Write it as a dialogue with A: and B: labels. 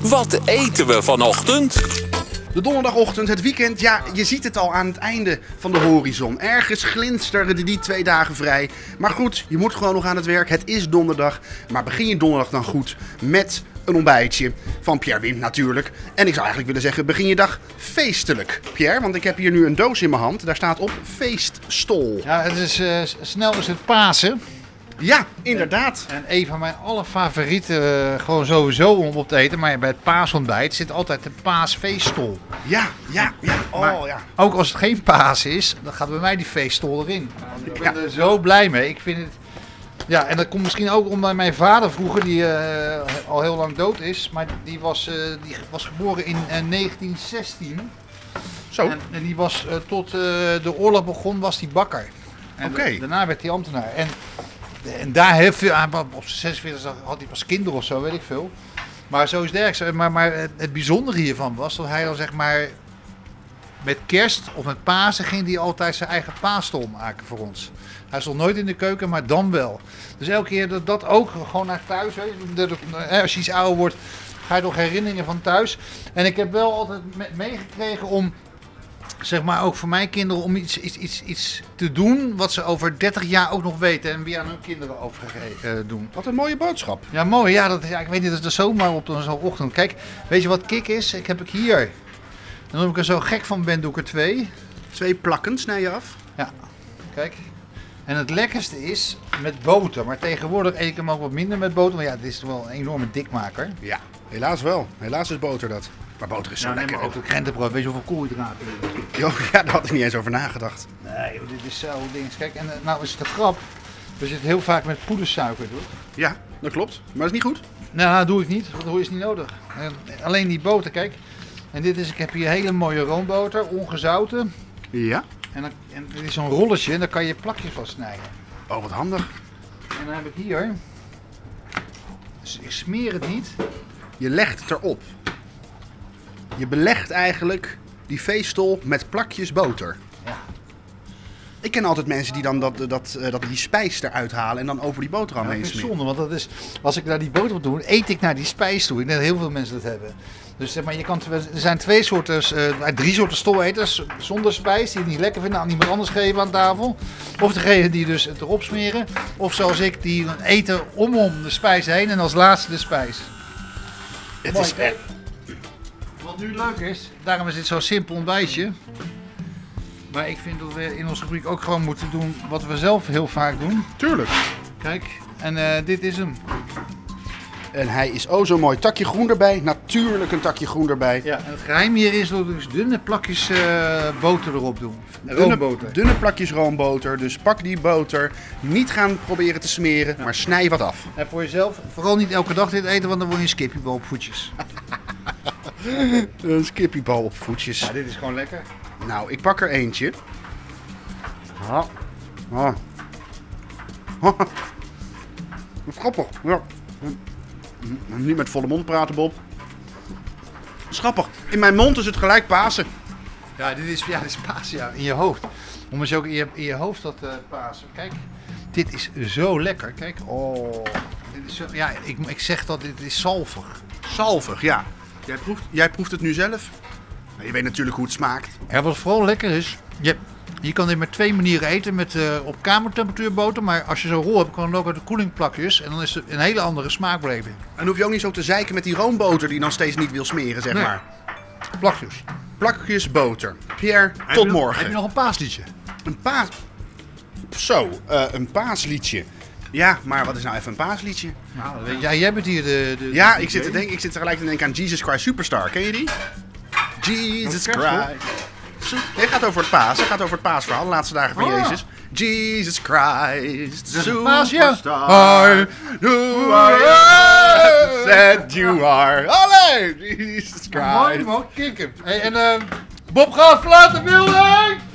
A: Wat eten we vanochtend?
B: De donderdagochtend, het weekend, ja, je ziet het al aan het einde van de horizon. Ergens glinsteren die twee dagen vrij. Maar goed, je moet gewoon nog aan het werk. Het is donderdag. Maar begin je donderdag dan goed met een ontbijtje van Pierre Wim natuurlijk. En ik zou eigenlijk willen zeggen, begin je dag feestelijk, Pierre. Want ik heb hier nu een doos in mijn hand. Daar staat op feeststol.
C: Ja, het is, eh, s- snel is het Pasen.
B: Ja, inderdaad.
C: En een van mijn allerfavorieten, eh, gewoon sowieso om op te eten, maar bij het paasontbijt zit altijd de paasfeeststol.
B: Ja, ja, ja. Oh,
C: Maar
B: ja.
C: Ook als het geen paas is, dan gaat bij mij die feeststol erin. Ik ben er zo blij mee. Ik vind het... Ja, en dat komt misschien ook omdat mijn vader vroeger, die eh, al heel lang dood is, maar die was, eh, die was geboren in eh, 1916.
B: Zo.
C: En, en die was eh, tot eh, de oorlog begon, was die bakker. En
B: Oké.
C: da- daarna werd hij ambtenaar. En, en daar heel veel, hij wa- op zijn 46 had hij pas kinderen of zo, weet ik veel. Maar zo is het ergens. Maar, maar het, het bijzondere hiervan was dat hij dan zeg maar met kerst of met Pasen ging hij altijd zijn eigen paasstol maken voor ons. Hij stond nooit in de keuken, maar dan wel. Dus elke keer dat, dat ook gewoon naar thuis. Hè, Dat- dat- hè, als je iets ouder wordt, ga je nog herinneringen van thuis. En ik heb wel altijd me- meegekregen om zeg maar ook voor mijn kinderen om iets, iets, iets, iets te doen wat ze over 30 jaar ook nog weten en weer aan hun kinderen overgeven doen.
B: Wat een mooie boodschap.
C: Ja, mooi. Ja, dat is, ja, ik weet niet, dat is er zomaar op zo'n ochtend. Kijk, weet je wat kick is? Ik heb ik hier. En omdat ik er zo gek van ben, doe ik er twee.
B: Twee plakken snij je af.
C: Ja, kijk. En het lekkerste is met boter. Maar tegenwoordig eet ik hem ook wat minder met boter. Maar ja, dit is toch wel een enorme dikmaker.
B: Ja, helaas wel. Helaas is boter dat. Maar boter is zo
C: Ja, nee,
B: lekker.
C: Nou, maar ook de krentenbrood. Weet je hoeveel koolhydraten er in zitten?
B: Joh, ja, daar had ik niet eens over nagedacht.
C: Nee, joh, dit is zo ding. Kijk, en eh, nou is het de grap. We zitten heel vaak met poedersuiker, toch?
B: Ja, dat klopt. Maar dat is niet goed.
C: Nou, dat doe ik niet. want Dat is niet nodig. En eh, alleen die boter, kijk. En dit is, ik heb hier hele mooie roomboter, ongezouten.
B: Ja.
C: En, dan, en dit is zo'n rolletje en daar kan je plakjes van snijden.
B: Oh, wat handig.
C: En dan heb ik hier, dus ik smeer het niet.
B: Je legt het erop. Je belegt eigenlijk die veestol met plakjes boter.
C: Ja.
B: Ik ken altijd mensen die dan dat, dat, eh, dat die spijs eruit halen en dan over die boterham
C: Ja, dat
B: heen
C: vind ik
B: smeren.
C: zonde, want dat is, als ik daar die boter op doe, eet ik naar die spijs toe. Ik denk dat heel veel mensen dat hebben. Dus zeg maar, je kan, er zijn twee soorten, eh, drie soorten stoleters zonder spijs, die het niet lekker vinden, aan iemand anders geven aan tafel. Of degene die dus het erop smeren. Of zoals ik, die dan eten omom de spijs heen en als laatste de spijs.
B: Het
C: Mooi.
B: is echt.
C: Wat nu leuk is, daarom is dit zo'n simpel ontbijtje. Maar ik vind dat we in onze rubriek ook gewoon moeten doen wat we zelf heel vaak doen.
B: Tuurlijk.
C: Kijk, en eh, dit is hem.
B: En hij is oh zo mooi. Takje groen erbij. Natuurlijk een takje groen erbij.
C: Ja, en het geheim hier is dat we dus dunne plakjes eh, boter erop doen.
B: Dunne,
C: Roomboter.
B: dunne plakjes roomboter. Dus pak die boter. Niet gaan proberen te smeren, maar snij wat af.
C: En voor jezelf, vooral niet elke dag dit eten, want dan word je een skippiebal op voetjes.
B: Een skippiebal op voetjes.
C: dit is gewoon lekker.
B: Nou, ik pak er eentje. Ah. Ah. Dat is grappig. Ja. Mm, Niet met volle mond praten, Bob. Dat is grappig. In mijn mond is het gelijk Pasen.
C: Ja, dit is, ja, dit is paas, ja, in je hoofd. Omdat je ook in je, in je hoofd dat eh paas. Kijk, dit is zo lekker. Kijk, oh. Dit is zo, ja, ik, ik zeg dat dit is zalvig.
B: Salvig, ja. Jij proeft, jij proeft het nu zelf. Nou, je weet natuurlijk hoe het smaakt.
C: Ja, wat vooral lekker is, je, je kan dit met twee manieren eten. Met eh, op kamertemperatuur boter, maar als je zo'n rol hebt, kan het ook uit de koelingplakjes. En dan is er een hele andere smaakbeleving.
B: En hoef je ook niet zo te zeiken met die roomboter die je dan steeds niet wil smeren, zeg
C: Nee.
B: maar.
C: Plakjes.
B: Plakjes boter. Pierre, tot morgen.
C: Heb je nog een paasliedje?
B: Een paas... Zo, eh, een paasliedje. Ja, maar wat is nou even een paasliedje?
C: ja, jij bent hier de... de-
B: Ja,
C: de
B: ik zit, te
C: DJ.
B: denken, ik zit tegelijk te denken aan Jesus Christ Superstar. Ken je die? Jesus
C: Dat is kerst,
B: Christ. Het gaat over het paas. Het gaat over het paasverhaal. De laatste dagen van
C: Ah.
B: Jezus. Jesus Christ.
C: paas, ja.
B: Superstar. Who are you? That you are. Allee! Jesus
C: Mooi,
B: Christ.
C: mooi. Kikken. Hey, en ehm Bob Gaaf, later Wilding!